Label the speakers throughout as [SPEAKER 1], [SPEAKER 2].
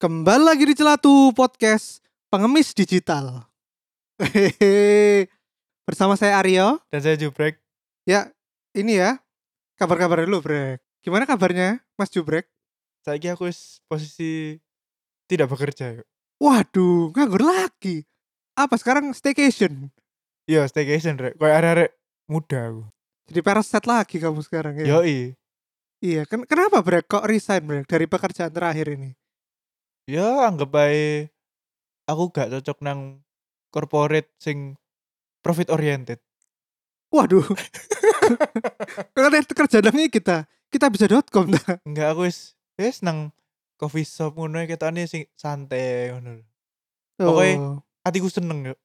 [SPEAKER 1] Kembali lagi di Celatu Podcast Pengemis Digital. Hehehe. Bersama saya Aryo.
[SPEAKER 2] dan saya jubrek
[SPEAKER 1] Ya, ini ya. Kabar-kabar dulu, Brek. Gimana kabarnya, Mas Jubrek?
[SPEAKER 2] saya aku wis posisi tidak bekerja yuk
[SPEAKER 1] Waduh, nganggur lagi. Apa sekarang staycation?
[SPEAKER 2] iya staycation rek kayak arek-arek muda aku
[SPEAKER 1] Jadi paraset lagi kamu sekarang ya.
[SPEAKER 2] yoi
[SPEAKER 1] Iya, ken- kenapa Brek kok resign Brek dari pekerjaan terakhir ini?
[SPEAKER 2] ya anggap aja aku gak cocok nang corporate sing profit oriented
[SPEAKER 1] Waduh. Karena itu kerjaannya kita kita bisa.com dah.
[SPEAKER 2] enggak aku wis wis nang coffee shop ngono kita nih sing santai ngono Pokoknya-
[SPEAKER 1] Oh,
[SPEAKER 2] hatiku seneng yuk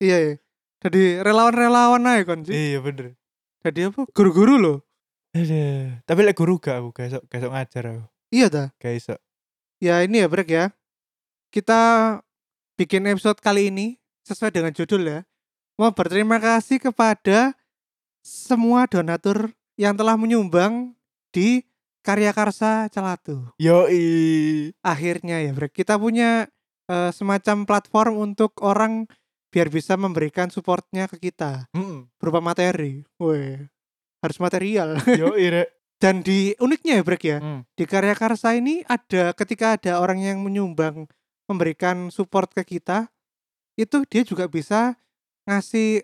[SPEAKER 1] Iya, iya. Jadi relawan-relawan aja kan. Ji.
[SPEAKER 2] iya bener
[SPEAKER 1] Jadi apa? Guru-guru loh.
[SPEAKER 2] Aduh. tapi lek guru gak aku gak iso- gak iso ngajar aku
[SPEAKER 1] Iya dah.
[SPEAKER 2] gak iso
[SPEAKER 1] Ya ini ya Brek ya. Kita bikin episode kali ini sesuai dengan judul ya. Mau berterima kasih kepada semua donatur yang telah menyumbang di Karya Karsa Celatu.
[SPEAKER 2] yoi
[SPEAKER 1] akhirnya ya Brek kita punya eh, semacam platform untuk orang biar bisa memberikan supportnya ke kita
[SPEAKER 2] Mm-mm.
[SPEAKER 1] berupa materi Weh, harus material
[SPEAKER 2] yoi rek
[SPEAKER 1] dan di uniknya ya Brek ya
[SPEAKER 2] Mm.
[SPEAKER 1] di karya karsa ini ada ketika ada orang yang menyumbang memberikan support ke kita itu dia juga bisa ngasih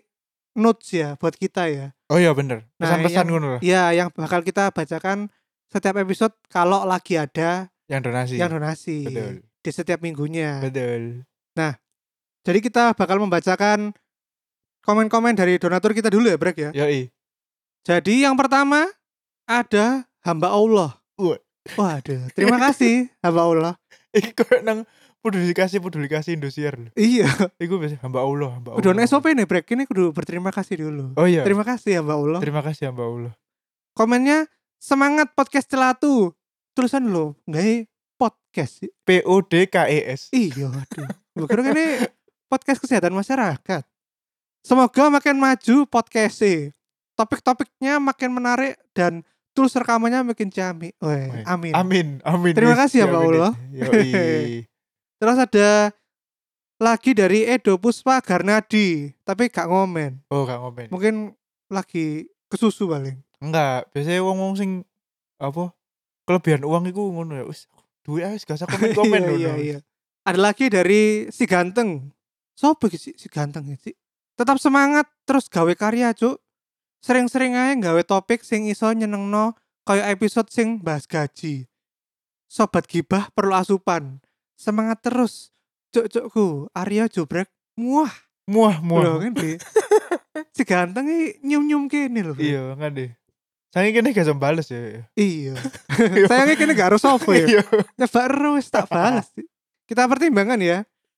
[SPEAKER 1] notes ya buat kita ya
[SPEAKER 2] oh iya bener
[SPEAKER 1] Nah,
[SPEAKER 2] pesan-pesan
[SPEAKER 1] yang-
[SPEAKER 2] ngono lah
[SPEAKER 1] ya yang bakal kita bacakan setiap episode kalau lagi ada
[SPEAKER 2] yang donasi
[SPEAKER 1] yang donasi
[SPEAKER 2] betul
[SPEAKER 1] di setiap minggunya
[SPEAKER 2] betul
[SPEAKER 1] Jadi kita bakal membacakan komen-komen dari donatur kita dulu ya, Brek ya.
[SPEAKER 2] yoi
[SPEAKER 1] Jadi yang pertama ada hamba Allah.
[SPEAKER 2] Wah.
[SPEAKER 1] Waduh, terima kasih hamba Allah.
[SPEAKER 2] Iki kayak nang publikasi publikasi Indosiar lho.
[SPEAKER 1] Iya,
[SPEAKER 2] Iku biasa hamba Allah, hamba Allah.
[SPEAKER 1] udah ono SOP nih Brek. Ini kudu berterima kasih dulu.
[SPEAKER 2] Oh iya. Terima,
[SPEAKER 1] Terima kasih hamba Allah.
[SPEAKER 2] kasih hamba Allah.
[SPEAKER 1] Komennya semangat podcast celatu. Tulisan lo, nggak eh, podcast.
[SPEAKER 2] P O D K E S.
[SPEAKER 1] Iya, aduh. Bukan kan ini podcast kesehatan masyarakat. Semoga makin maju podcast Topik-topiknya makin menarik dan tools rekamannya makin jami. Weh,
[SPEAKER 2] Weh,
[SPEAKER 1] amin.
[SPEAKER 2] Amin, amin.
[SPEAKER 1] Terima
[SPEAKER 2] Wis,
[SPEAKER 1] kasih hamba
[SPEAKER 2] diaminin.
[SPEAKER 1] Allah.
[SPEAKER 2] Yoi.
[SPEAKER 1] Terus ada lagi dari Edo Puspa Garnadi, tapi gak ngomen.
[SPEAKER 2] Oh, gak ngomen.
[SPEAKER 1] Mungkin lagi kesusu paling.
[SPEAKER 2] Enggak, biasanya wong-wong sing apa? Kelebihan uang iku ngono ya. Wis, duit ae gak usah komen-komen
[SPEAKER 1] Iya,
[SPEAKER 2] ngono.
[SPEAKER 1] iya, iya. Ada lagi dari si ganteng. Sopo iki si, si ganteng iki? Tetap semangat terus gawe karya, Cuk. Sering-sering aja gawe topik sing iso nyenengno kayak episode sing bahas gaji. Sobat gibah perlu asupan. Semangat terus. Cuk-cukku, Arya Jubrek. Muah,
[SPEAKER 2] Muah,
[SPEAKER 1] loh
[SPEAKER 2] muah.
[SPEAKER 1] kan Bi. si ganteng iki nyum-nyum kene lho. Bi.
[SPEAKER 2] Iya, kan deh. Saya kene gak iso bales ya.
[SPEAKER 1] Iya. Sayangnya kene gak harus sopo ya.
[SPEAKER 2] Iya.
[SPEAKER 1] Coba terus tak balas. Kita pertimbangkan ya.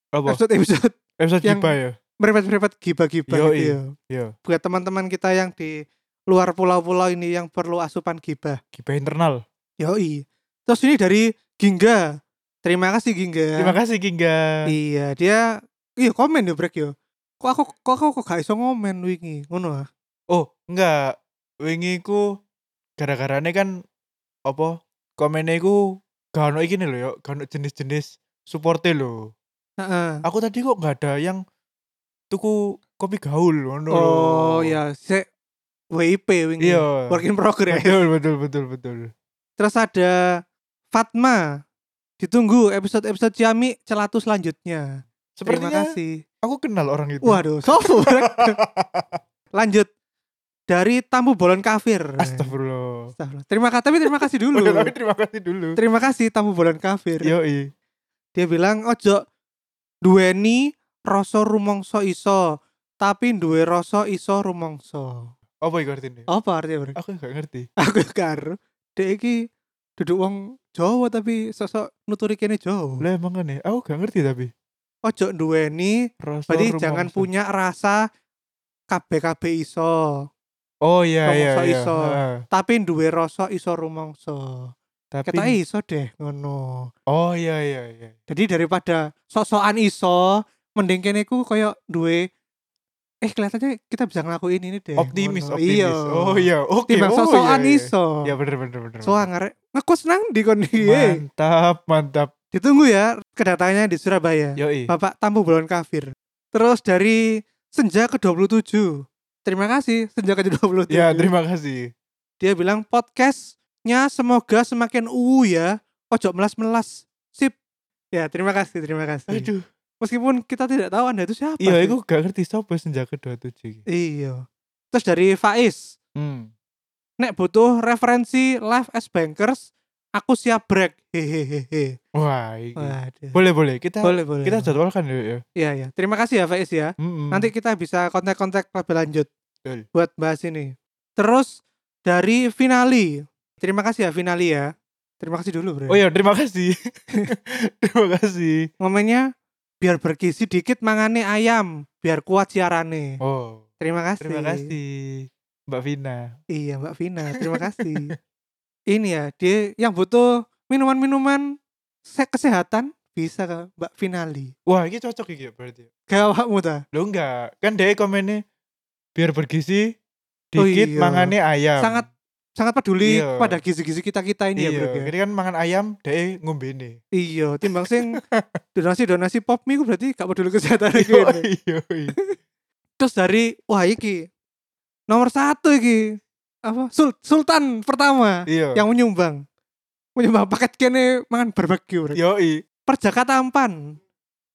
[SPEAKER 2] Apa?
[SPEAKER 1] Episode-episode
[SPEAKER 2] Episode
[SPEAKER 1] yang-
[SPEAKER 2] Jiba ya.
[SPEAKER 1] merepet-merepet gibah-gibah
[SPEAKER 2] Yoi.
[SPEAKER 1] gitu ya.
[SPEAKER 2] Iya.
[SPEAKER 1] Buat teman-teman kita yang di luar pulau-pulau ini yang perlu asupan gibah.
[SPEAKER 2] Gibah internal.
[SPEAKER 1] Yoi. Terus ini dari Gingga. Terima kasih Gingga.
[SPEAKER 2] Terima kasih Kingga.
[SPEAKER 1] Iya, dia iya komen ya Brek yo. Kok aku kok aku kok gak iso ngomen wingi, ngono ah.
[SPEAKER 2] Oh, enggak. Wingi ku gara-garane kan apa? Komennya ku gak ono iki nih lho yo, gak ono jenis-jenis supporte lho.
[SPEAKER 1] Heeh.
[SPEAKER 2] Aku tadi kok gak ada yang tuku kopi gaul ngono lho.
[SPEAKER 1] Oh, ya se WIP wingi.
[SPEAKER 2] Iya.
[SPEAKER 1] Work in progress.
[SPEAKER 2] Betul, betul, betul, betul.
[SPEAKER 1] Terus ada Fatma. Ditunggu episode-episode Ciami celatu selanjutnya. Terima
[SPEAKER 2] Sepertinya
[SPEAKER 1] kasih.
[SPEAKER 2] aku kenal orang itu.
[SPEAKER 1] Waduh, sopo Brek? Lanjut dari tamu bolon kafir.
[SPEAKER 2] Astagfirullah.
[SPEAKER 1] Astagfirullah. Terima kasih, tapi terima kasih dulu.
[SPEAKER 2] Oke, tapi Iya. terima kasih dulu.
[SPEAKER 1] terima kasih tamu bolon kafir.
[SPEAKER 2] Yoi.
[SPEAKER 1] Dia bilang ojo duweni rasa rumongso iso, tapi duwe rasa iso rumongso.
[SPEAKER 2] Apa iku artinya?
[SPEAKER 1] Apa artinya, Bro?
[SPEAKER 2] Aku gak ngerti.
[SPEAKER 1] Aku karo dek iki duduk wong Jawa tapi sosok nuturi kene Jawa.
[SPEAKER 2] Lah emang kan ya? Aku gak ngerti tapi.
[SPEAKER 1] Ojo duweni
[SPEAKER 2] Rasa
[SPEAKER 1] berarti
[SPEAKER 2] rumangsa.
[SPEAKER 1] jangan punya rasa kabeh-kabeh iso.
[SPEAKER 2] Oh iya iya
[SPEAKER 1] Rumangsa
[SPEAKER 2] iya.
[SPEAKER 1] iso.
[SPEAKER 2] Heeh.
[SPEAKER 1] tapi duwe rasa iso rumangsa.
[SPEAKER 2] Tapi
[SPEAKER 1] Ketoke iso deh ngono.
[SPEAKER 2] Oh iya iya iya.
[SPEAKER 1] Jadi daripada sok-sokan iso, mending kene ku koyo duwe eh kelihatannya kita bisa ngelakuin ini deh.
[SPEAKER 2] Optimis
[SPEAKER 1] ngono.
[SPEAKER 2] optimis.
[SPEAKER 1] Iya.
[SPEAKER 2] Oh iya. Oke.
[SPEAKER 1] Timbang
[SPEAKER 2] oh,
[SPEAKER 1] sok-sokan
[SPEAKER 2] iya, iya.
[SPEAKER 1] iso.
[SPEAKER 2] Ya bener bener bener. bener.
[SPEAKER 1] Soal ngarep ngekus nang di kon iki.
[SPEAKER 2] Mantap mantap.
[SPEAKER 1] Ditunggu ya kedatangannya di Surabaya.
[SPEAKER 2] Yoi.
[SPEAKER 1] Bapak Tampu Bulan Kafir. Terus dari Senja ke-27. Terima kasih Senja ke-27.
[SPEAKER 2] Ya terima kasih.
[SPEAKER 1] Dia bilang podcastnya semoga semakin uwu ya. Ojo melas-melas. Sip. Ya, terima kasih, terima kasih.
[SPEAKER 2] Aduh.
[SPEAKER 1] Meskipun kita tidak tahu Anda itu siapa.
[SPEAKER 2] Iya,
[SPEAKER 1] sih.
[SPEAKER 2] aku gak ngerti sapa senja ke-27 iki.
[SPEAKER 1] Iya. Terus dari Faiz,
[SPEAKER 2] Hmm.
[SPEAKER 1] nek butuh referensi live as bankers, aku siap break. Hehehehe.
[SPEAKER 2] Wah, iki.
[SPEAKER 1] Waduh.
[SPEAKER 2] Boleh boleh kita
[SPEAKER 1] Boleh, boleh.
[SPEAKER 2] kita jadwalkan yuk ya.
[SPEAKER 1] Iya, iya. Terima kasih ya Faiz ya.
[SPEAKER 2] Mm-mm.
[SPEAKER 1] Nanti kita bisa kontak-kontak lebih lanjut
[SPEAKER 2] Betul.
[SPEAKER 1] buat bahas ini. Terus dari Finali. Terima kasih ya Finali ya. Terima kasih dulu, Bro.
[SPEAKER 2] Oh ya, terima kasih. terima kasih.
[SPEAKER 1] Momennya biar bergizi dikit mangane ayam, biar kuat siarane.
[SPEAKER 2] Oh,
[SPEAKER 1] Terima kasih.
[SPEAKER 2] terima kasih Mbak Vina.
[SPEAKER 1] Iya, Mbak Vina. Terima kasih. ini ya, dia yang butuh minuman-minuman se- kesehatan bisa ke Mbak Finali.
[SPEAKER 2] Wah, ini cocok iki ya berarti.
[SPEAKER 1] Gawakmu ta.
[SPEAKER 2] Lo enggak, kan dia komennya biar bergizi
[SPEAKER 1] Oh iya.
[SPEAKER 2] dikit mangane ayam.
[SPEAKER 1] Sangat sangat peduli
[SPEAKER 2] Iya.
[SPEAKER 1] pada gizi-gizi kita-kita ini ya,
[SPEAKER 2] iya,
[SPEAKER 1] Bro. ya.
[SPEAKER 2] ini kan mangan ayam dia ngombene.
[SPEAKER 1] Iya, timbang sing donasi-donasi pop mie ku berarti gak peduli kesehatan
[SPEAKER 2] Iya,
[SPEAKER 1] iki.
[SPEAKER 2] iya.
[SPEAKER 1] Terus dari wah iki nomor satu iki apa Sul- Sultan pertama
[SPEAKER 2] Iya.
[SPEAKER 1] yang menyumbang menyumbang paket kene mangan barbeque. bro.
[SPEAKER 2] Yoi.
[SPEAKER 1] Perjaka Tampan.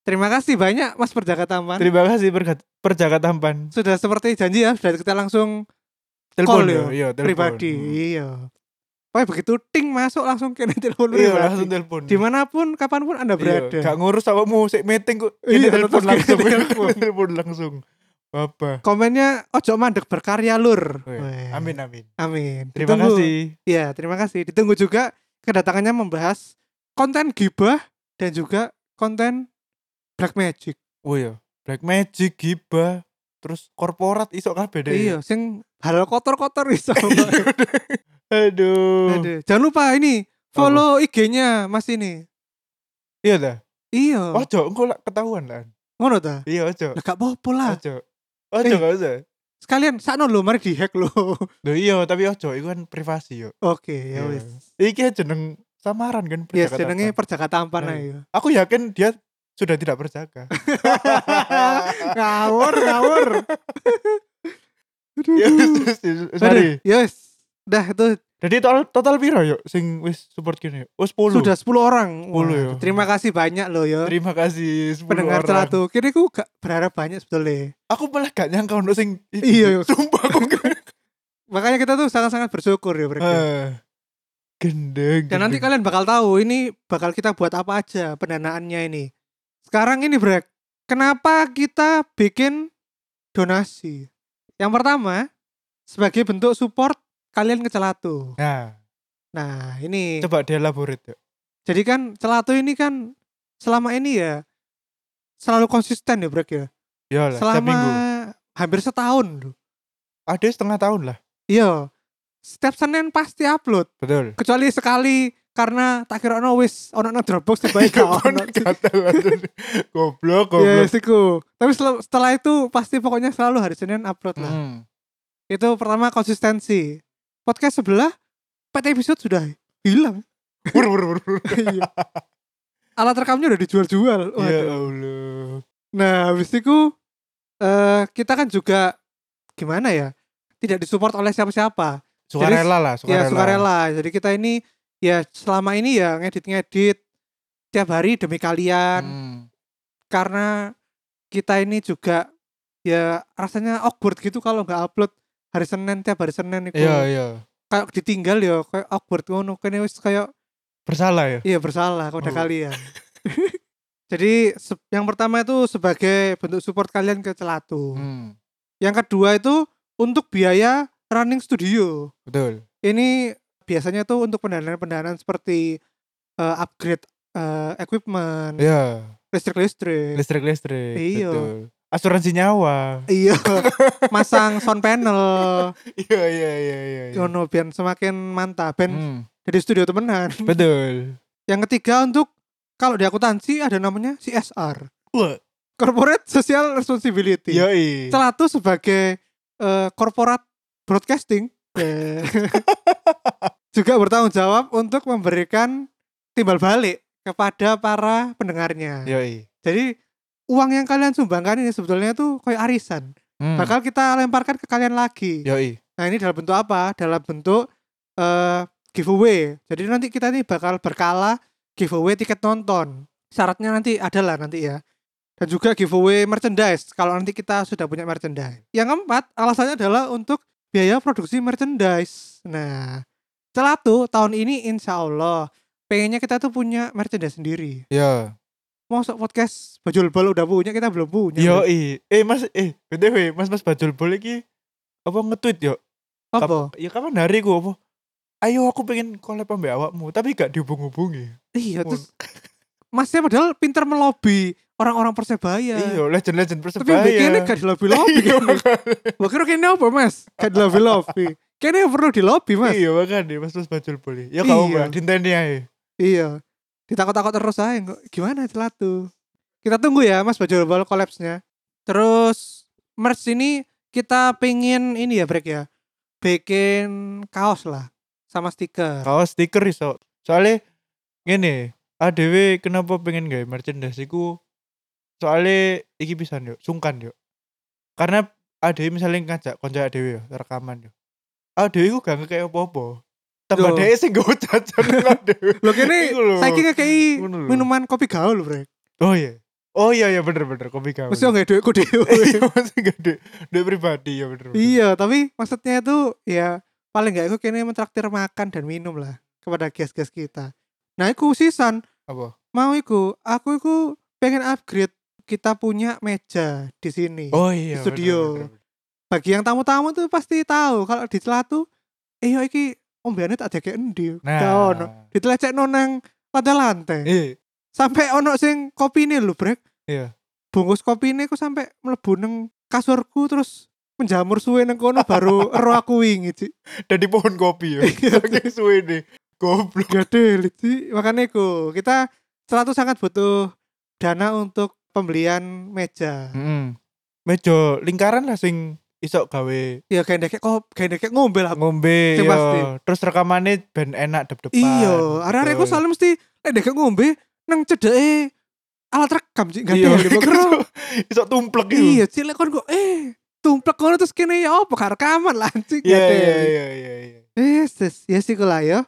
[SPEAKER 1] Terima kasih banyak Mas Perjaka Tampan.
[SPEAKER 2] Terima kasih pergat- perjaka tampan.
[SPEAKER 1] Sudah seperti janji ya, sudah kita langsung Call
[SPEAKER 2] Telepon ya,
[SPEAKER 1] ya,
[SPEAKER 2] iya, telepon.
[SPEAKER 1] pribadi. Iya. Pokoknya begitu ting masuk langsung kene telepon
[SPEAKER 2] Hmm. Iya,
[SPEAKER 1] pribadi.
[SPEAKER 2] langsung telepon.
[SPEAKER 1] Dimanapun, kapanpun Anda
[SPEAKER 2] Iya,
[SPEAKER 1] berada.
[SPEAKER 2] gak ngurus apa mau sik meeting kok. Ini
[SPEAKER 1] Iya,
[SPEAKER 2] telepon
[SPEAKER 1] terus
[SPEAKER 2] langsung.
[SPEAKER 1] kena telepon.
[SPEAKER 2] telepon langsung. Apa?
[SPEAKER 1] Komennya ojo mandek berkarya lur.
[SPEAKER 2] Weh,
[SPEAKER 1] Weh.
[SPEAKER 2] Iya, Amin amin.
[SPEAKER 1] Amin.
[SPEAKER 2] Terima
[SPEAKER 1] Ditunggu.
[SPEAKER 2] kasih.
[SPEAKER 1] Ya, terima kasih. Ditunggu juga kedatangannya membahas konten gibah dan juga konten black magic.
[SPEAKER 2] Oh iya, Black Magic Giba, terus korporat iso kabeh deh.
[SPEAKER 1] Iya, sing hal kotor-kotor iso.
[SPEAKER 2] Aduh.
[SPEAKER 1] Aduh, Jangan lupa ini follow IG-nya Mas ini.
[SPEAKER 2] Iya dah.
[SPEAKER 1] Iya.
[SPEAKER 2] Ojo engko lak ketahuan lah.
[SPEAKER 1] Ngono ta?
[SPEAKER 2] Iya ojo.
[SPEAKER 1] Lah gak apa-apa lah.
[SPEAKER 2] Ojo. Ojo
[SPEAKER 1] Eh.
[SPEAKER 2] gak usah.
[SPEAKER 1] Sekalian sakno lho mari dihack lho.
[SPEAKER 2] Loh iya, tapi ojo iku kan privasi yo.
[SPEAKER 1] Oke, ya
[SPEAKER 2] Iya.
[SPEAKER 1] wis.
[SPEAKER 2] Iki jeneng samaran kan
[SPEAKER 1] Ya
[SPEAKER 2] perjaka
[SPEAKER 1] jenenge
[SPEAKER 2] tanpa.
[SPEAKER 1] perjaka tampan
[SPEAKER 2] Iya.
[SPEAKER 1] ayo.
[SPEAKER 2] Aku yakin dia sudah tidak berjaga.
[SPEAKER 1] ngawur, ngawur. Aduh.
[SPEAKER 2] ya wis terus
[SPEAKER 1] Aduh,
[SPEAKER 2] terus. Sorry.
[SPEAKER 1] ya wis. Dah itu
[SPEAKER 2] Jadi total total piro yo sing wis support kene? Oh 10.
[SPEAKER 1] Sudah 10 orang.
[SPEAKER 2] 10
[SPEAKER 1] Wah,
[SPEAKER 2] ya.
[SPEAKER 1] Terima kasih banyak loh ya.
[SPEAKER 2] Terima kasih 10
[SPEAKER 1] Pendengar
[SPEAKER 2] orang.
[SPEAKER 1] celatu. Kini aku gak berharap banyak sebetulnya.
[SPEAKER 2] Aku malah gak nyangka ono sing
[SPEAKER 1] Iya, iya.
[SPEAKER 2] Sumpah aku gak.
[SPEAKER 1] Makanya kita tuh sangat-sangat bersyukur ya mereka.
[SPEAKER 2] Eh, Gendeng.
[SPEAKER 1] Dan nanti kan-
[SPEAKER 2] gendeng.
[SPEAKER 1] kalian bakal tahu ini bakal kita buat apa aja pendanaannya ini. Sekarang ini Brek, kenapa kita bikin donasi? Yang pertama, sebagai bentuk support kalian ke celatu.
[SPEAKER 2] Nah,
[SPEAKER 1] Nah ini,
[SPEAKER 2] coba dielaborate yuk.
[SPEAKER 1] jadi kan celatu ini kan selama ini ya selalu konsisten ya Brek ya.
[SPEAKER 2] Ya lah, setiap
[SPEAKER 1] selama
[SPEAKER 2] minggu.
[SPEAKER 1] hampir setahun loh.
[SPEAKER 2] Ada setengah tahun lah.
[SPEAKER 1] Iya. Setiap Senin pasti upload.
[SPEAKER 2] Betul.
[SPEAKER 1] Kecuali sekali karena tak kira ono wis ono nang Dropbox tiba gak ono.
[SPEAKER 2] Gatel, gatel. Goblok,
[SPEAKER 1] Ya
[SPEAKER 2] goblok.
[SPEAKER 1] yes, iku. Tapi setel- setelah itu pasti pokoknya selalu hari Senin upload lah.
[SPEAKER 2] Hmm.
[SPEAKER 1] Itu pertama konsistensi. Podcast sebelah empat episode sudah hilang.
[SPEAKER 2] Bur, bur, bur, bur.
[SPEAKER 1] Iya. Alat rekamnya udah dijual-jual.
[SPEAKER 2] Ya
[SPEAKER 1] Waduh.
[SPEAKER 2] Allah.
[SPEAKER 1] Nah, habis itu eh, kita kan juga gimana ya? Tidak disupport oleh siapa-siapa.
[SPEAKER 2] Sukarela lah, iya, sukarela.
[SPEAKER 1] ya sukarela jadi kita ini ya selama ini ya ngedit-ngedit tiap hari demi kalian
[SPEAKER 2] Hmm.
[SPEAKER 1] karena kita ini juga ya rasanya awkward gitu kalau nggak upload hari Senin tiap hari Senin itu
[SPEAKER 2] Iya, iya.
[SPEAKER 1] kayak ditinggal ya kayak awkward ngono kene wis kayak
[SPEAKER 2] Bersalah ya?
[SPEAKER 1] iya bersalah kepada
[SPEAKER 2] Oh.
[SPEAKER 1] kalian jadi se- yang pertama itu sebagai bentuk support kalian ke Celatu
[SPEAKER 2] Hmm.
[SPEAKER 1] yang kedua itu untuk biaya running studio
[SPEAKER 2] Betul.
[SPEAKER 1] ini biasanya tuh untuk pendanaan-pendanaan seperti eh, upgrade eh, equipment,
[SPEAKER 2] Iya.
[SPEAKER 1] listrik-listrik.
[SPEAKER 2] Listrik-listrik.
[SPEAKER 1] Iya.
[SPEAKER 2] Betul. asuransi nyawa.
[SPEAKER 1] Iya. Masang sound panel.
[SPEAKER 2] Iya iya iya iya. iya.
[SPEAKER 1] Ngono biar semakin mantap ben
[SPEAKER 2] Hmm,
[SPEAKER 1] dari studio temenan.
[SPEAKER 2] betul.
[SPEAKER 1] Yang ketiga untuk kalau di akuntansi ada namanya CSR.
[SPEAKER 2] Wah.
[SPEAKER 1] Corporate Social Responsibility.
[SPEAKER 2] Yoi.
[SPEAKER 1] Salah satu sebagai eh, korporat broadcasting eh, juga bertanggung jawab untuk memberikan timbal balik kepada para pendengarnya.
[SPEAKER 2] Yoi.
[SPEAKER 1] Jadi uang yang kalian sumbangkan ini sebetulnya tuh kayak arisan.
[SPEAKER 2] Hmm.
[SPEAKER 1] Bakal kita lemparkan ke kalian lagi.
[SPEAKER 2] Yoi.
[SPEAKER 1] Nah, ini dalam bentuk apa? Dalam bentuk eh, giveaway. Jadi nanti kita nih bakal berkala giveaway tiket nonton. Syaratnya nanti adalah nanti ya. Dan juga giveaway merchandise kalau nanti kita sudah punya merchandise. Yang keempat, alasannya adalah untuk biaya produksi merchandise. Nah, setelah itu tahun ini insya Allah pengennya kita tuh punya merchandise sendiri.
[SPEAKER 2] Ya.
[SPEAKER 1] Masuk podcast Bajul Bal udah punya, kita belum punya.
[SPEAKER 2] Yoi. Eh Mas eh BTW Mas Mas Bajul boleh ki apa nge-tweet yo?
[SPEAKER 1] Apa?
[SPEAKER 2] Ya kapan hari ku apa? Ayo aku pengen collab ambek awakmu, tapi gak dihubung-hubungi.
[SPEAKER 1] Iya, terus Masnya padahal pinter melobi orang-orang Persebaya.
[SPEAKER 2] Iya, legend-legend
[SPEAKER 1] Tapi
[SPEAKER 2] persebaya.
[SPEAKER 1] mbak kene gak di lobby lobby
[SPEAKER 2] Iya, makanya.
[SPEAKER 1] Mbak kene kene apa mas? Gak di lobby lobby Kene perlu di lobby mas
[SPEAKER 2] Iya, makanya Mas Mas Bajul boleh. Ya kamu
[SPEAKER 1] Iya.
[SPEAKER 2] mbak, dinteni ae.
[SPEAKER 1] Iya Ditakut-takut terus aja kok. Gimana celatu Kita tunggu ya mas Bajul Bal collapse-nya Terus Merch ini kita pengen ini ya break ya Bikin kaos lah Sama stiker
[SPEAKER 2] kaos stiker iso soalnya ngene ADW kenapa pengen gawe merchandise iku soalnya iki pisan yuk sungkan yuk karena ADW misalnya ngajak konco ADW yo rekaman yo ADW iku gak kayak apa-apa tambah
[SPEAKER 1] Loh.
[SPEAKER 2] dhewe sing nggo jajan nang ADW
[SPEAKER 1] Loh kene
[SPEAKER 2] Iku lho.
[SPEAKER 1] Saya kira kayak
[SPEAKER 2] Iya, Ngono lho.
[SPEAKER 1] minuman kopi gaul break
[SPEAKER 2] oh iya oh iya iya bener bener kopi gawe
[SPEAKER 1] Mesti gak duitku dewe
[SPEAKER 2] Iya, mesti gak duwe duwe pribadi ya bener bener.
[SPEAKER 1] Iya, tapi maksudnya itu ya paling nggak aku kini mentraktir makan dan minum lah kepada guys-guys kita. Nah, aku sisan
[SPEAKER 2] apa
[SPEAKER 1] mau iku, aku iku pengen upgrade kita punya meja di sini.
[SPEAKER 2] oh iya bener,
[SPEAKER 1] studio.
[SPEAKER 2] bener, bener.
[SPEAKER 1] Bagi yang tamu-tamu tuh pasti tahu kalau di Celatu, eh yo iki ombeane tak jake endi.
[SPEAKER 2] nah
[SPEAKER 1] Gak ono. Ditelecekno nang lantai-lantai.
[SPEAKER 2] iya
[SPEAKER 1] Sampai ono sing kopine lho, Brek.
[SPEAKER 2] Iya.
[SPEAKER 1] Bungkus kopine ku sampai mlebu nang kasurku terus menjamur suwe nang kono baru ero aku wingi, Ci.
[SPEAKER 2] dari pohon kopi ya
[SPEAKER 1] Iya.
[SPEAKER 2] saking suwe nih goblok
[SPEAKER 1] Gede Liti. Makanya iku, kita selalu sangat butuh dana untuk pembelian meja.
[SPEAKER 2] Mm. Meja lingkaran lah sing iso gawe
[SPEAKER 1] Ya kayak kayak kok kayak kayak ngombe lah.
[SPEAKER 2] ngombe
[SPEAKER 1] Sing
[SPEAKER 2] yo.
[SPEAKER 1] pasti.
[SPEAKER 2] terus rekamannya ben enak gitu. dep depan
[SPEAKER 1] Iya, arek-arek ku selalu mesti nek dek ngombe nang cedeke alat rekam sih enggak
[SPEAKER 2] iya
[SPEAKER 1] ada
[SPEAKER 2] iso, iso tumplek
[SPEAKER 1] Iya, cilik kon kok eh tumplek kono terus kene ya apa gak rekaman lah anjing
[SPEAKER 2] iya
[SPEAKER 1] gak
[SPEAKER 2] iya
[SPEAKER 1] ada.
[SPEAKER 2] iya iya iya.
[SPEAKER 1] Yes, yes, yes iku lah ya.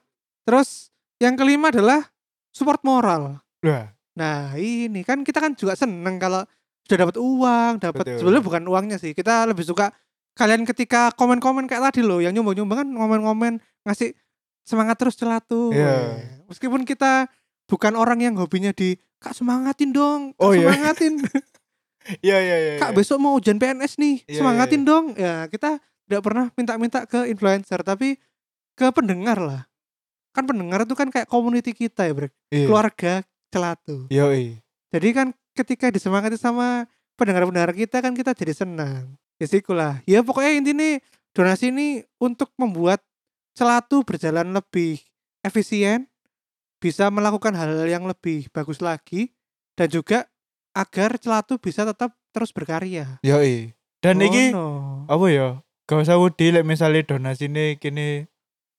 [SPEAKER 1] Terus yang kelima adalah support moral.
[SPEAKER 2] Lah,
[SPEAKER 1] Nah ini kan kita kan juga seneng kalau sudah dapat uang, dapat
[SPEAKER 2] Betul.
[SPEAKER 1] sebenarnya bukan uangnya sih. Kita lebih suka kalian ketika komen-komen kayak tadi loh, yang nyumbang-nyumbang kan komen-komen ngasih semangat terus celatu.
[SPEAKER 2] Iya.
[SPEAKER 1] Meskipun kita bukan orang yang hobinya di kak semangatin dong, kak
[SPEAKER 2] Oh, iya.
[SPEAKER 1] semangatin,
[SPEAKER 2] iya iya iya
[SPEAKER 1] kak
[SPEAKER 2] iya.
[SPEAKER 1] besok mau ujian PNS nih,
[SPEAKER 2] Iya,
[SPEAKER 1] semangatin dong. Ya kita tidak pernah minta-minta ke influencer, tapi ke pendengar lah. Kan pendengar itu kan kayak community kita ya, Brek.
[SPEAKER 2] Iya.
[SPEAKER 1] keluarga celatu.
[SPEAKER 2] Iya, iya.
[SPEAKER 1] Jadi kan ketika disemangati sama pendengar-pendengar kita kan kita jadi senang. Ya sikulah. Ya pokoknya intinya donasi ini untuk membuat celatu berjalan lebih efisien, bisa melakukan hal yang lebih bagus lagi, dan juga agar celatu bisa tetap terus berkarya.
[SPEAKER 2] Iya, iya. dan iki
[SPEAKER 1] Ngono.
[SPEAKER 2] apa ya gak usah wedi lek misale donasine kene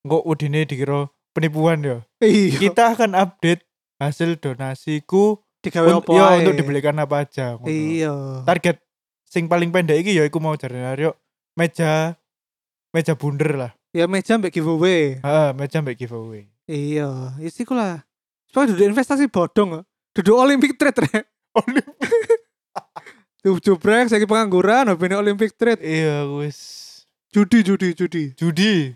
[SPEAKER 2] engko udine dikira penipuan ya
[SPEAKER 1] Iya.
[SPEAKER 2] kita akan update hasil donasiku
[SPEAKER 1] Digawe
[SPEAKER 2] un-
[SPEAKER 1] apa
[SPEAKER 2] ya,
[SPEAKER 1] ae.
[SPEAKER 2] untuk dibelikan apa aja ngono.
[SPEAKER 1] Iya.
[SPEAKER 2] target sing paling pendek iki ya iku mau jare yo meja meja bunder lah.
[SPEAKER 1] Ya meja mbek giveaway.
[SPEAKER 2] Heeh, meja mbek giveaway.
[SPEAKER 1] Iya, isi kula. Soalnya duduk investasi bodong kok. Duduk Olympic trade rek.
[SPEAKER 2] Olympic.
[SPEAKER 1] Tuh jubrek saya pengangguran habis Olympic trade.
[SPEAKER 2] Iya wis
[SPEAKER 1] Judi judi judi.
[SPEAKER 2] judi.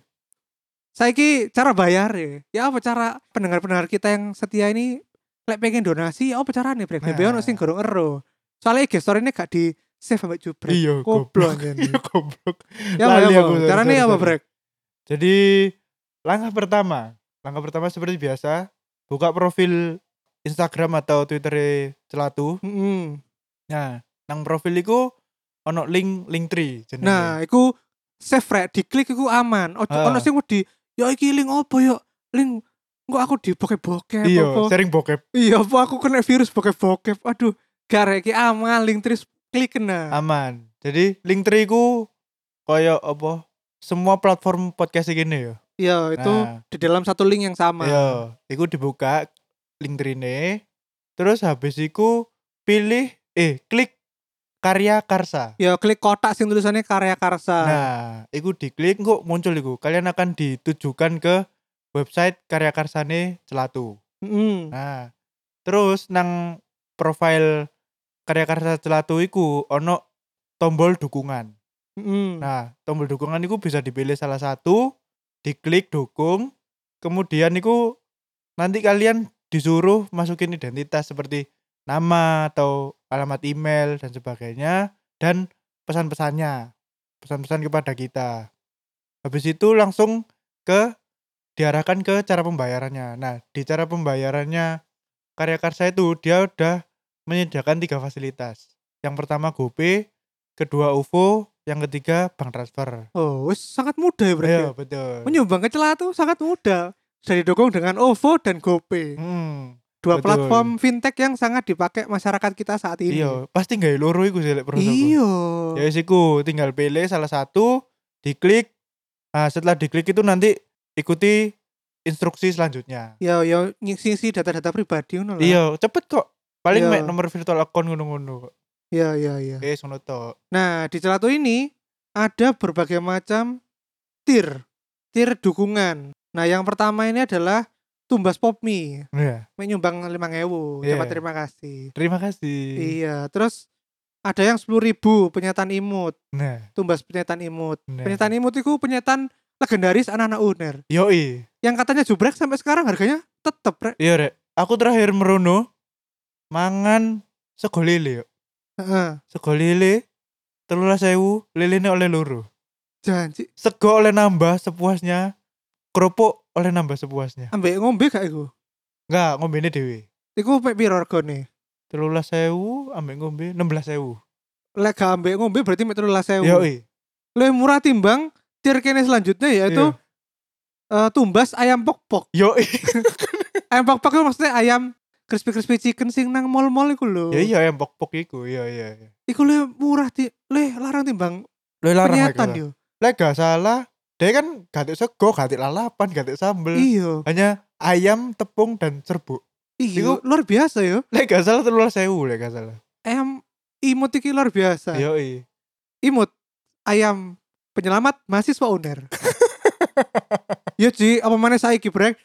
[SPEAKER 1] Saya cara bayar ya. Ya apa cara pendengar-pendengar kita yang setia ini lek pengen donasi ya apa carane brek?
[SPEAKER 2] Nah.
[SPEAKER 1] Ben ono sing gorong ero. Soalnya gestor ini gak di save sampai jubrek.
[SPEAKER 2] Iya
[SPEAKER 1] Goblok
[SPEAKER 2] goblok.
[SPEAKER 1] ini.
[SPEAKER 2] Iya goblok.
[SPEAKER 1] Ya apa,
[SPEAKER 2] Lali
[SPEAKER 1] ya
[SPEAKER 2] aku,
[SPEAKER 1] apa?
[SPEAKER 2] sorry,
[SPEAKER 1] Caranya
[SPEAKER 2] sorry,
[SPEAKER 1] apa
[SPEAKER 2] sorry.
[SPEAKER 1] brek?
[SPEAKER 2] Jadi langkah pertama, langkah pertama seperti biasa buka profil Instagram atau Twitter Celatu.
[SPEAKER 1] Mm-mm.
[SPEAKER 2] Nah, nang profil iku ono link link tree jenenge.
[SPEAKER 1] Nah, iku save rek diklik iku aman. Ojo
[SPEAKER 2] iya. Ah.
[SPEAKER 1] ono sing wedi, ya iki link opo yo? Link kok aku di bokep-bokep
[SPEAKER 2] iya,
[SPEAKER 1] apa?
[SPEAKER 2] sering bokep.
[SPEAKER 1] Iya, apa aku kena virus bokep-bokep. Aduh, gak rek iki aman link terus klik kena.
[SPEAKER 2] Aman. Jadi link tree iku koyo apa? Semua platform podcast gini ya.
[SPEAKER 1] Iya, itu
[SPEAKER 2] Nah.
[SPEAKER 1] di dalam satu link yang sama.
[SPEAKER 2] Iya, iku dibuka link trine. Terus habis iku pilih eh klik karya karsa.
[SPEAKER 1] Ya klik kotak sing tulisannya karya karsa.
[SPEAKER 2] Nah, iku diklik kok muncul iku. Kalian akan ditujukan ke website karya karsane Celatu.
[SPEAKER 1] Mm-mm.
[SPEAKER 2] Nah, terus nang profil karya karsa Celatu iku ono tombol dukungan.
[SPEAKER 1] Mm-mm.
[SPEAKER 2] Nah, tombol dukungan itu bisa dipilih salah satu, diklik dukung, kemudian itu nanti kalian disuruh masukin identitas seperti nama atau alamat email dan sebagainya dan pesan-pesannya, pesan-pesan kepada kita. Habis itu langsung ke diarahkan ke cara pembayarannya. Nah, di cara pembayarannya Karya Karsa itu dia udah menyediakan tiga fasilitas. Yang pertama GoPay, kedua UFO, yang ketiga bank transfer.
[SPEAKER 1] Oh, wis sangat mudah ya berarti.
[SPEAKER 2] Iya, betul.
[SPEAKER 1] Menyumbang ke celatu sangat mudah. Bisa didukung dengan OVO dan GoPay.
[SPEAKER 2] Hmm,
[SPEAKER 1] Dua
[SPEAKER 2] betul.
[SPEAKER 1] platform fintech yang sangat dipakai masyarakat kita saat ini.
[SPEAKER 2] iya, pasti nggak loro iku sih lek perut aku.
[SPEAKER 1] Iya.
[SPEAKER 2] Ya wis iku, tinggal pilih salah satu, diklik. Nah, setelah diklik itu nanti ikuti instruksi selanjutnya.
[SPEAKER 1] Ya ya ngisi-ngisi data-data pribadi ngono lah.
[SPEAKER 2] Iya, cepet kok.
[SPEAKER 1] Iya.
[SPEAKER 2] Paling mek nomor virtual account ngono-ngono kok.
[SPEAKER 1] Iya iya iya.
[SPEAKER 2] Eh, sono tok.
[SPEAKER 1] Nah, di Celatu ini ada berbagai macam tier. Tier dukungan. Nah, yang pertama ini adalah Tumbas Popmi,
[SPEAKER 2] Iya,
[SPEAKER 1] menyumbang 5000.
[SPEAKER 2] Iya.
[SPEAKER 1] Dapat Ya, terima kasih.
[SPEAKER 2] terima kasih.
[SPEAKER 1] Iya, terus ada yang 10.000 penyetan imut,
[SPEAKER 2] Nah,
[SPEAKER 1] Tumbas penyetan imut.
[SPEAKER 2] nah.
[SPEAKER 1] Penyetan imut itu penyetan legendaris anak-anak UNER.
[SPEAKER 2] Yoi.
[SPEAKER 1] Yang katanya jubrek sampai sekarang harganya tetep rek.
[SPEAKER 2] Iya, Rek. Aku terakhir merono mangan sego lele yo.
[SPEAKER 1] Heeh.
[SPEAKER 2] Sego lele 13.000, lelene oleh loro.
[SPEAKER 1] janji
[SPEAKER 2] sego oleh nambah sepuasnya kerupuk oleh nambah sepuasnya
[SPEAKER 1] ambek ngombe gak iku?
[SPEAKER 2] enggak ngombe ini dewi
[SPEAKER 1] Iku pek piro regane?
[SPEAKER 2] telulah sewu ambek ngombe enam belas sewu
[SPEAKER 1] Lek gak ambek ngombe berarti mek 13.000.
[SPEAKER 2] yoi
[SPEAKER 1] lebih murah timbang tier kene selanjutnya yaitu
[SPEAKER 2] Iya.
[SPEAKER 1] eh, tumbas ayam pok-pok.
[SPEAKER 2] yoi
[SPEAKER 1] Ayam pok-pok itu maksudnya ayam crispy-crispy chicken sing nang mall-mall iku lho.
[SPEAKER 2] ya iya yang pok pok iku iya iya iya.
[SPEAKER 1] Iku le murah ti le larang timbang
[SPEAKER 2] lu larang
[SPEAKER 1] penyetan
[SPEAKER 2] lagi
[SPEAKER 1] yo.
[SPEAKER 2] lek gak salah dia kan gatik sego gatik lalapan gatik sambel
[SPEAKER 1] Iya,
[SPEAKER 2] hanya ayam tepung dan serbuk
[SPEAKER 1] iya luar biasa yo.
[SPEAKER 2] lek gak salah telulah sewu lek gak salah
[SPEAKER 1] Ayam imut iki luar biasa.
[SPEAKER 2] yoi
[SPEAKER 1] Imut ayam penyelamat mahasiswa UNER. yo Ji, apa mana saiki brek?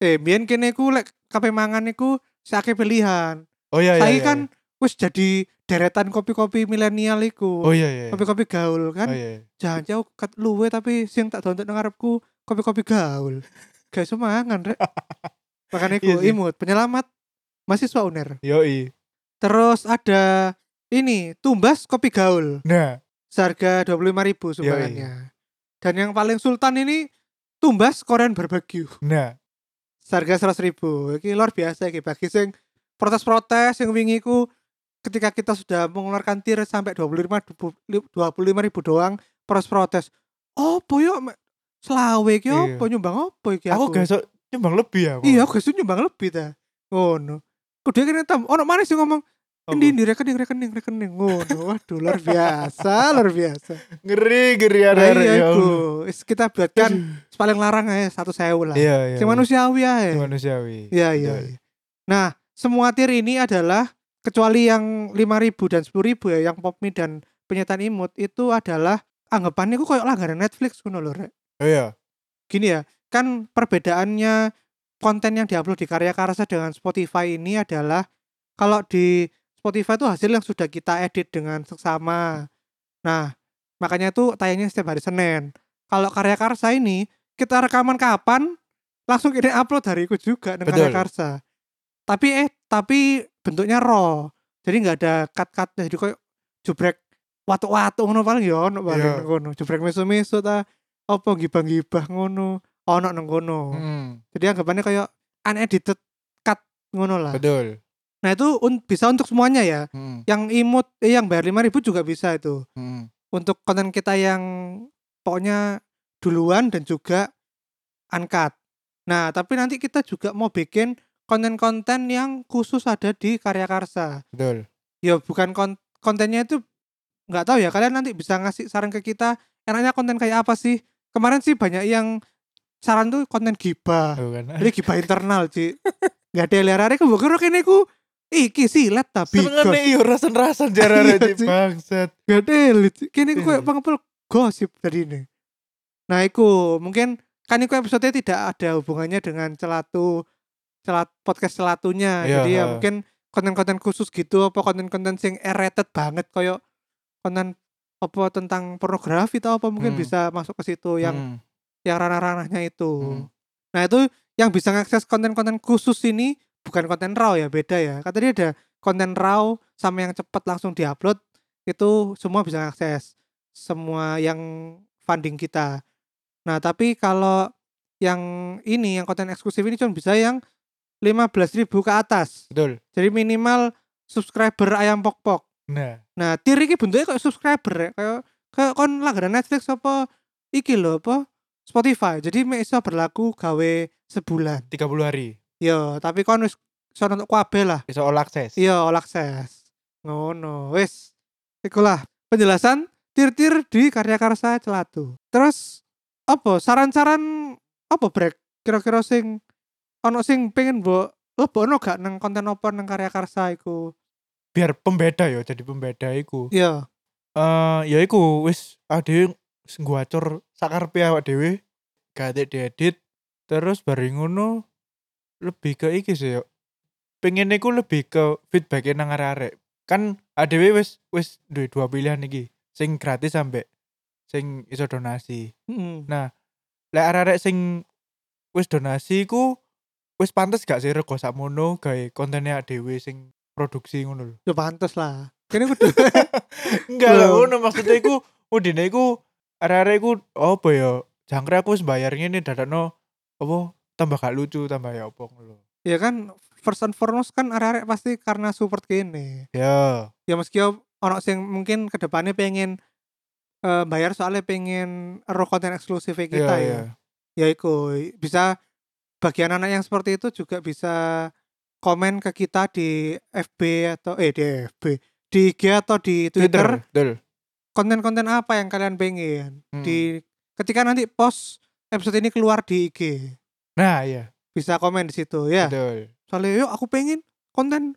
[SPEAKER 1] Eh, biyen kene iku lek kape mangan iku sakit pilihan.
[SPEAKER 2] oh iya iya
[SPEAKER 1] Saiki
[SPEAKER 2] iya.
[SPEAKER 1] kan wis jadi deretan kopi-kopi milenial iku.
[SPEAKER 2] oh iya iya iya.
[SPEAKER 1] Kopi-kopi gaul
[SPEAKER 2] oh
[SPEAKER 1] kan.
[SPEAKER 2] iya iya.
[SPEAKER 1] Jangan jauh kat luwe tapi sing tak dontok nang ngarepku kopi-kopi gaul. Gak iso mangan rek. Makanya
[SPEAKER 2] Iya
[SPEAKER 1] iku
[SPEAKER 2] sih.
[SPEAKER 1] imut penyelamat mahasiswa UNER.
[SPEAKER 2] yoi
[SPEAKER 1] Terus ada ini tumbas kopi gaul
[SPEAKER 2] nah
[SPEAKER 1] seharga 25.000 sumbangannya. Dan yang paling sultan ini tumbas Korean barbecue
[SPEAKER 2] nah
[SPEAKER 1] seharga 100.000. Iki luar biasa iki bagi sing protes-protes yang wingi ku ketika kita sudah mengeluarkan tir sampai 25 25 ribu doang protes protes oh boyo selawe ki
[SPEAKER 2] Iya.
[SPEAKER 1] opo nyumbang opo iki
[SPEAKER 2] aku gak sok nyumbang lebih ya
[SPEAKER 1] iya aku gak nyumbang lebih ta ngono kudu kene tam ono mana sih ngomong Endi di rekening rekening rekening ngono waduh luar biasa luar biasa
[SPEAKER 2] ngeri ngeri ada
[SPEAKER 1] nah,
[SPEAKER 2] ada, ya
[SPEAKER 1] iya
[SPEAKER 2] Allah.
[SPEAKER 1] iku Is kita buatkan paling larang aja satu sewu lah
[SPEAKER 2] Iya, iya.
[SPEAKER 1] sing manusiawi aja
[SPEAKER 2] Sing manusiawi.
[SPEAKER 1] Iya iya.
[SPEAKER 2] Betul.
[SPEAKER 1] iya. Nah, semua tir ini adalah kecuali yang 5.000 dan 10.000 ya yang popmi dan penyetan imut itu adalah anggapannya kok kayak langganan Netflix ngono lho, Rek.
[SPEAKER 2] Oh iya.
[SPEAKER 1] Gini ya, kan perbedaannya konten yang diupload di Karya Karsa dengan Spotify ini adalah kalau di Spotify itu hasil yang sudah kita edit dengan seksama. Nah, makanya itu tayangnya setiap hari Senin. Kalau Karya Karsa ini kita rekaman kapan langsung kita upload hari itu juga dengan Karya
[SPEAKER 2] Betul.
[SPEAKER 1] Karsa. Tapi eh tapi bentuknya raw. Jadi nggak ada cut-cutnya jadi kayak jubrek watu-watu ngono paling ya ono paling
[SPEAKER 2] Iya.
[SPEAKER 1] nang ngono. Jubrek mesu-mesu ta apa gibah-gibah ngono ono nang ngono.
[SPEAKER 2] Mm,
[SPEAKER 1] Jadi anggapannya kayak unedited cut ngono lah.
[SPEAKER 2] betul.
[SPEAKER 1] Nah itu un- bisa untuk semuanya ya.
[SPEAKER 2] Hmm,
[SPEAKER 1] Yang imut, eh, yang bayar 5.000 juga bisa itu.
[SPEAKER 2] hmm.
[SPEAKER 1] Untuk konten kita yang pokoknya duluan dan juga uncut. Nah tapi nanti kita juga mau bikin konten-konten yang khusus ada di Karya Karsa.
[SPEAKER 2] Betul.
[SPEAKER 1] ya bukan kon- kontennya itu nggak tahu ya kalian nanti bisa ngasih saran ke kita enaknya konten kayak apa sih kemarin sih banyak yang saran tuh konten gibah
[SPEAKER 2] Tuh kan.
[SPEAKER 1] ini gibah internal sih nggak ada lerare ku bukero kene ku iki silet tapi
[SPEAKER 2] Senengane
[SPEAKER 1] gosip
[SPEAKER 2] iyo rasan-rasan jarang
[SPEAKER 1] Iya,
[SPEAKER 2] Cik.
[SPEAKER 1] Cik.
[SPEAKER 2] bangsat.
[SPEAKER 1] nggak ada elit, Cik. kene ku kayak
[SPEAKER 2] Iya.
[SPEAKER 1] pengepul gosip dari ini nah iku mungkin kan iku episode tidak ada hubungannya dengan celatu celat podcast celatunya
[SPEAKER 2] Iya,
[SPEAKER 1] jadi ya
[SPEAKER 2] ha.
[SPEAKER 1] mungkin konten-konten khusus gitu apa konten-konten sing rated banget koyo konten apa tentang pornografi atau apa mungkin
[SPEAKER 2] Hmm.
[SPEAKER 1] bisa masuk ke situ yang
[SPEAKER 2] Hmm,
[SPEAKER 1] yang ranah-ranahnya itu.
[SPEAKER 2] Hmm.
[SPEAKER 1] Nah, itu yang bisa mengakses konten-konten khusus ini bukan konten raw ya, beda ya. Katanya ada konten raw sama yang cepat langsung diupload itu semua bisa akses semua yang funding kita. Nah, tapi kalau yang ini yang konten eksklusif ini cuma bisa yang 15.000 ke atas.
[SPEAKER 2] betul.
[SPEAKER 1] Jadi minimal subscriber ayam pok-pok.
[SPEAKER 2] Nah,
[SPEAKER 1] Nah, tier iki bentuknya kayak subscriber ya, kayak kayak kon langganan Netflix apa iki lho apa Spotify. Jadi mek iso berlaku gawe sebulan.
[SPEAKER 2] 30 hari.
[SPEAKER 1] Yo, tapi kon wis iso nonton kabeh lah.
[SPEAKER 2] Bisa all access.
[SPEAKER 1] Yo, all access. Ngono, wis. Ikulah penjelasan tir-tir di Karya Karsa Celatu. Terus apa saran-saran apa break kira-kira sing ono sing pengen mbok lebokno gak nang konten apa nang Karya Karsa iku. Iya,
[SPEAKER 2] Biar pembeda ya, jadi pembeda iku.
[SPEAKER 1] Yo,
[SPEAKER 2] Eh, ya iku wis ade ngguacor sakarepe awak dhewe, gate diedit, terus bari ngono lebih ke iki sih yo. Pengen iku lebih ke feedback nang arek-arek. Kan adewe wis wis duwe dua pilihan iki, sing gratis sampe sing iso donasi.
[SPEAKER 1] heeh.
[SPEAKER 2] Nah, Lek arek-arek sing wis donasi iku wis pantes gak sih rego sakmono gawe kontennya dhewe sing produksi ngono lho.
[SPEAKER 1] Yo pantes lah. Kene kudu
[SPEAKER 2] Enggak lah,
[SPEAKER 1] Belum.
[SPEAKER 2] ngono maksudnya iku udine iku arek-arek iku apa ya? Jangkrik aku wis bayar ngene dadakno apa tambah gak lucu, tambah ya apa ngono. lho.
[SPEAKER 1] ya kan first and foremost kan arek-arek pasti karena support kene
[SPEAKER 2] Ya,
[SPEAKER 1] ya meski o- ono sing mungkin kedepannya pengen eh, bayar soalnya pengen roh konten eksklusif kita ya
[SPEAKER 2] iya.
[SPEAKER 1] ya iku bisa bagian anak yang seperti itu juga bisa komen ke kita di FB atau eh di FB di IG atau di Twitter
[SPEAKER 2] Twitter, betul.
[SPEAKER 1] konten-konten apa yang kalian pengen
[SPEAKER 2] Hmm.
[SPEAKER 1] di ketika nanti post episode ini keluar di IG
[SPEAKER 2] Nah, iya,
[SPEAKER 1] bisa komen di situ ya
[SPEAKER 2] betul.
[SPEAKER 1] soalnya yuk aku pengen konten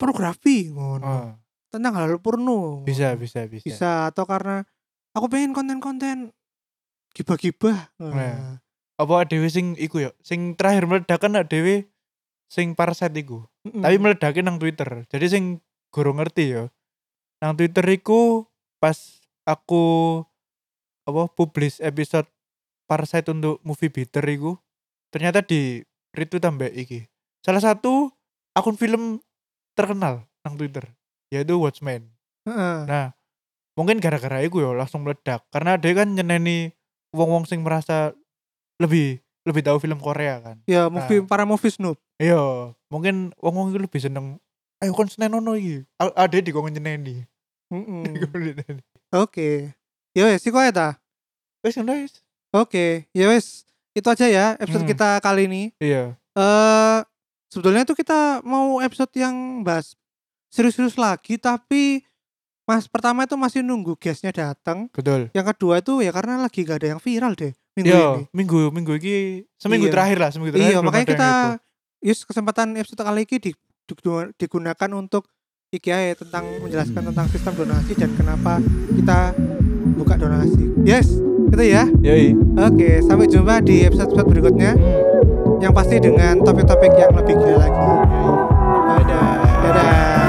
[SPEAKER 1] pornografi ngono
[SPEAKER 2] Oh,
[SPEAKER 1] tentang hal porno
[SPEAKER 2] bisa, ya. bisa, bisa.
[SPEAKER 1] bisa atau karena aku pengen konten-konten gibah-gibah
[SPEAKER 2] Nah.
[SPEAKER 1] nah.
[SPEAKER 2] Apa dhewe sing iku ya? Sing terakhir meledak kan dhewe sing Parasite iku. Tapi
[SPEAKER 1] Hmm.
[SPEAKER 2] meledaknya nang Twitter. Jadi sing gorong ngerti ya. Nang Twitter iku pas aku apa publish episode Parasite untuk movie beater iku ternyata di retweet tambah iki. Salah satu akun film terkenal nang Twitter yaitu Watchmen.
[SPEAKER 1] Heeh.
[SPEAKER 2] Nah, mungkin gara-gara iku ya langsung meledak karena dia kan nyeneni wong-wong sing merasa lebih lebih tahu film Korea kan.
[SPEAKER 1] ya movie para movie snoop
[SPEAKER 2] Iya, mungkin wong wong itu lebih seneng ayo kon senenono iki. A- Ade di kon nyeneni.
[SPEAKER 1] Mm-mm.
[SPEAKER 2] Hmm. Dikongen nyeneni.
[SPEAKER 1] oke ya wes iku ae ta
[SPEAKER 2] Wes ngono wis.
[SPEAKER 1] oke ya wes itu aja ya episode
[SPEAKER 2] Hmm.
[SPEAKER 1] kita kali ini
[SPEAKER 2] Iya.
[SPEAKER 1] eh sebetulnya tuh kita mau episode yang bahas serius-serius lagi tapi mas pertama itu masih nunggu guestnya datang
[SPEAKER 2] Betul.
[SPEAKER 1] Yang kedua itu ya karena lagi gak ada yang viral deh minggu ini.
[SPEAKER 2] Iya, minggu minggu iki seminggu
[SPEAKER 1] Iya.
[SPEAKER 2] terakhir lah, seminggu terakhir.
[SPEAKER 1] Iya,
[SPEAKER 2] belum
[SPEAKER 1] makanya
[SPEAKER 2] ada yang
[SPEAKER 1] kita
[SPEAKER 2] itu.
[SPEAKER 1] use kesempatan episode kali ini di- di- digunakan untuk IKI ya, tentang menjelaskan tentang sistem donasi dan kenapa kita buka donasi. Yes, itu ya.
[SPEAKER 2] Yoi.
[SPEAKER 1] Oke, sampai jumpa di episode-episode berikutnya
[SPEAKER 2] Hmm.
[SPEAKER 1] yang pasti dengan topik-topik yang lebih gila lagi. Dadah. Dadah.